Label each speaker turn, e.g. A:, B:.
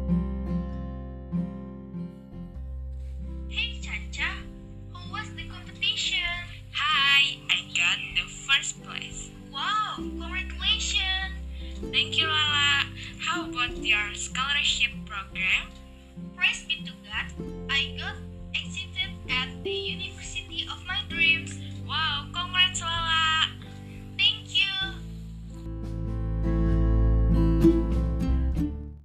A: Oh,
B: Thank you, Lala. How about your scholarship program?
A: Praise be to God, I got accepted at the university.